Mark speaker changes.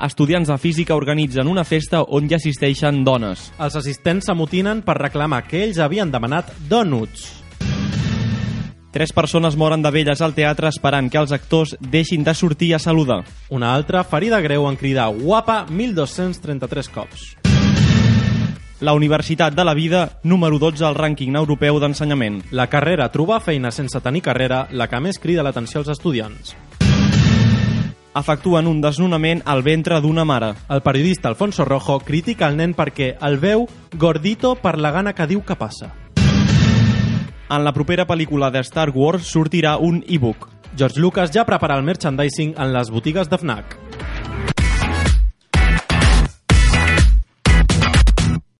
Speaker 1: estudiants de física organitzen una festa on hi assisteixen dones.
Speaker 2: Els assistents s'amotinen per reclamar que ells havien demanat donuts.
Speaker 1: Tres persones moren de velles al teatre esperant que els actors deixin de sortir a saludar.
Speaker 2: Una altra ferida greu en cridar guapa 1.233 cops.
Speaker 1: La Universitat de la Vida, número 12 al rànquing europeu d'ensenyament.
Speaker 2: La carrera trobar feina sense tenir carrera, la que més crida l'atenció als estudiants.
Speaker 1: Efectuen un desnonament al ventre d'una mare.
Speaker 2: El periodista Alfonso Rojo critica el nen perquè el veu gordito per la gana que diu que passa.
Speaker 1: En la propera pel·lícula de Star Wars sortirà un e-book.
Speaker 2: George Lucas ja prepara el merchandising en les botigues de FNAC.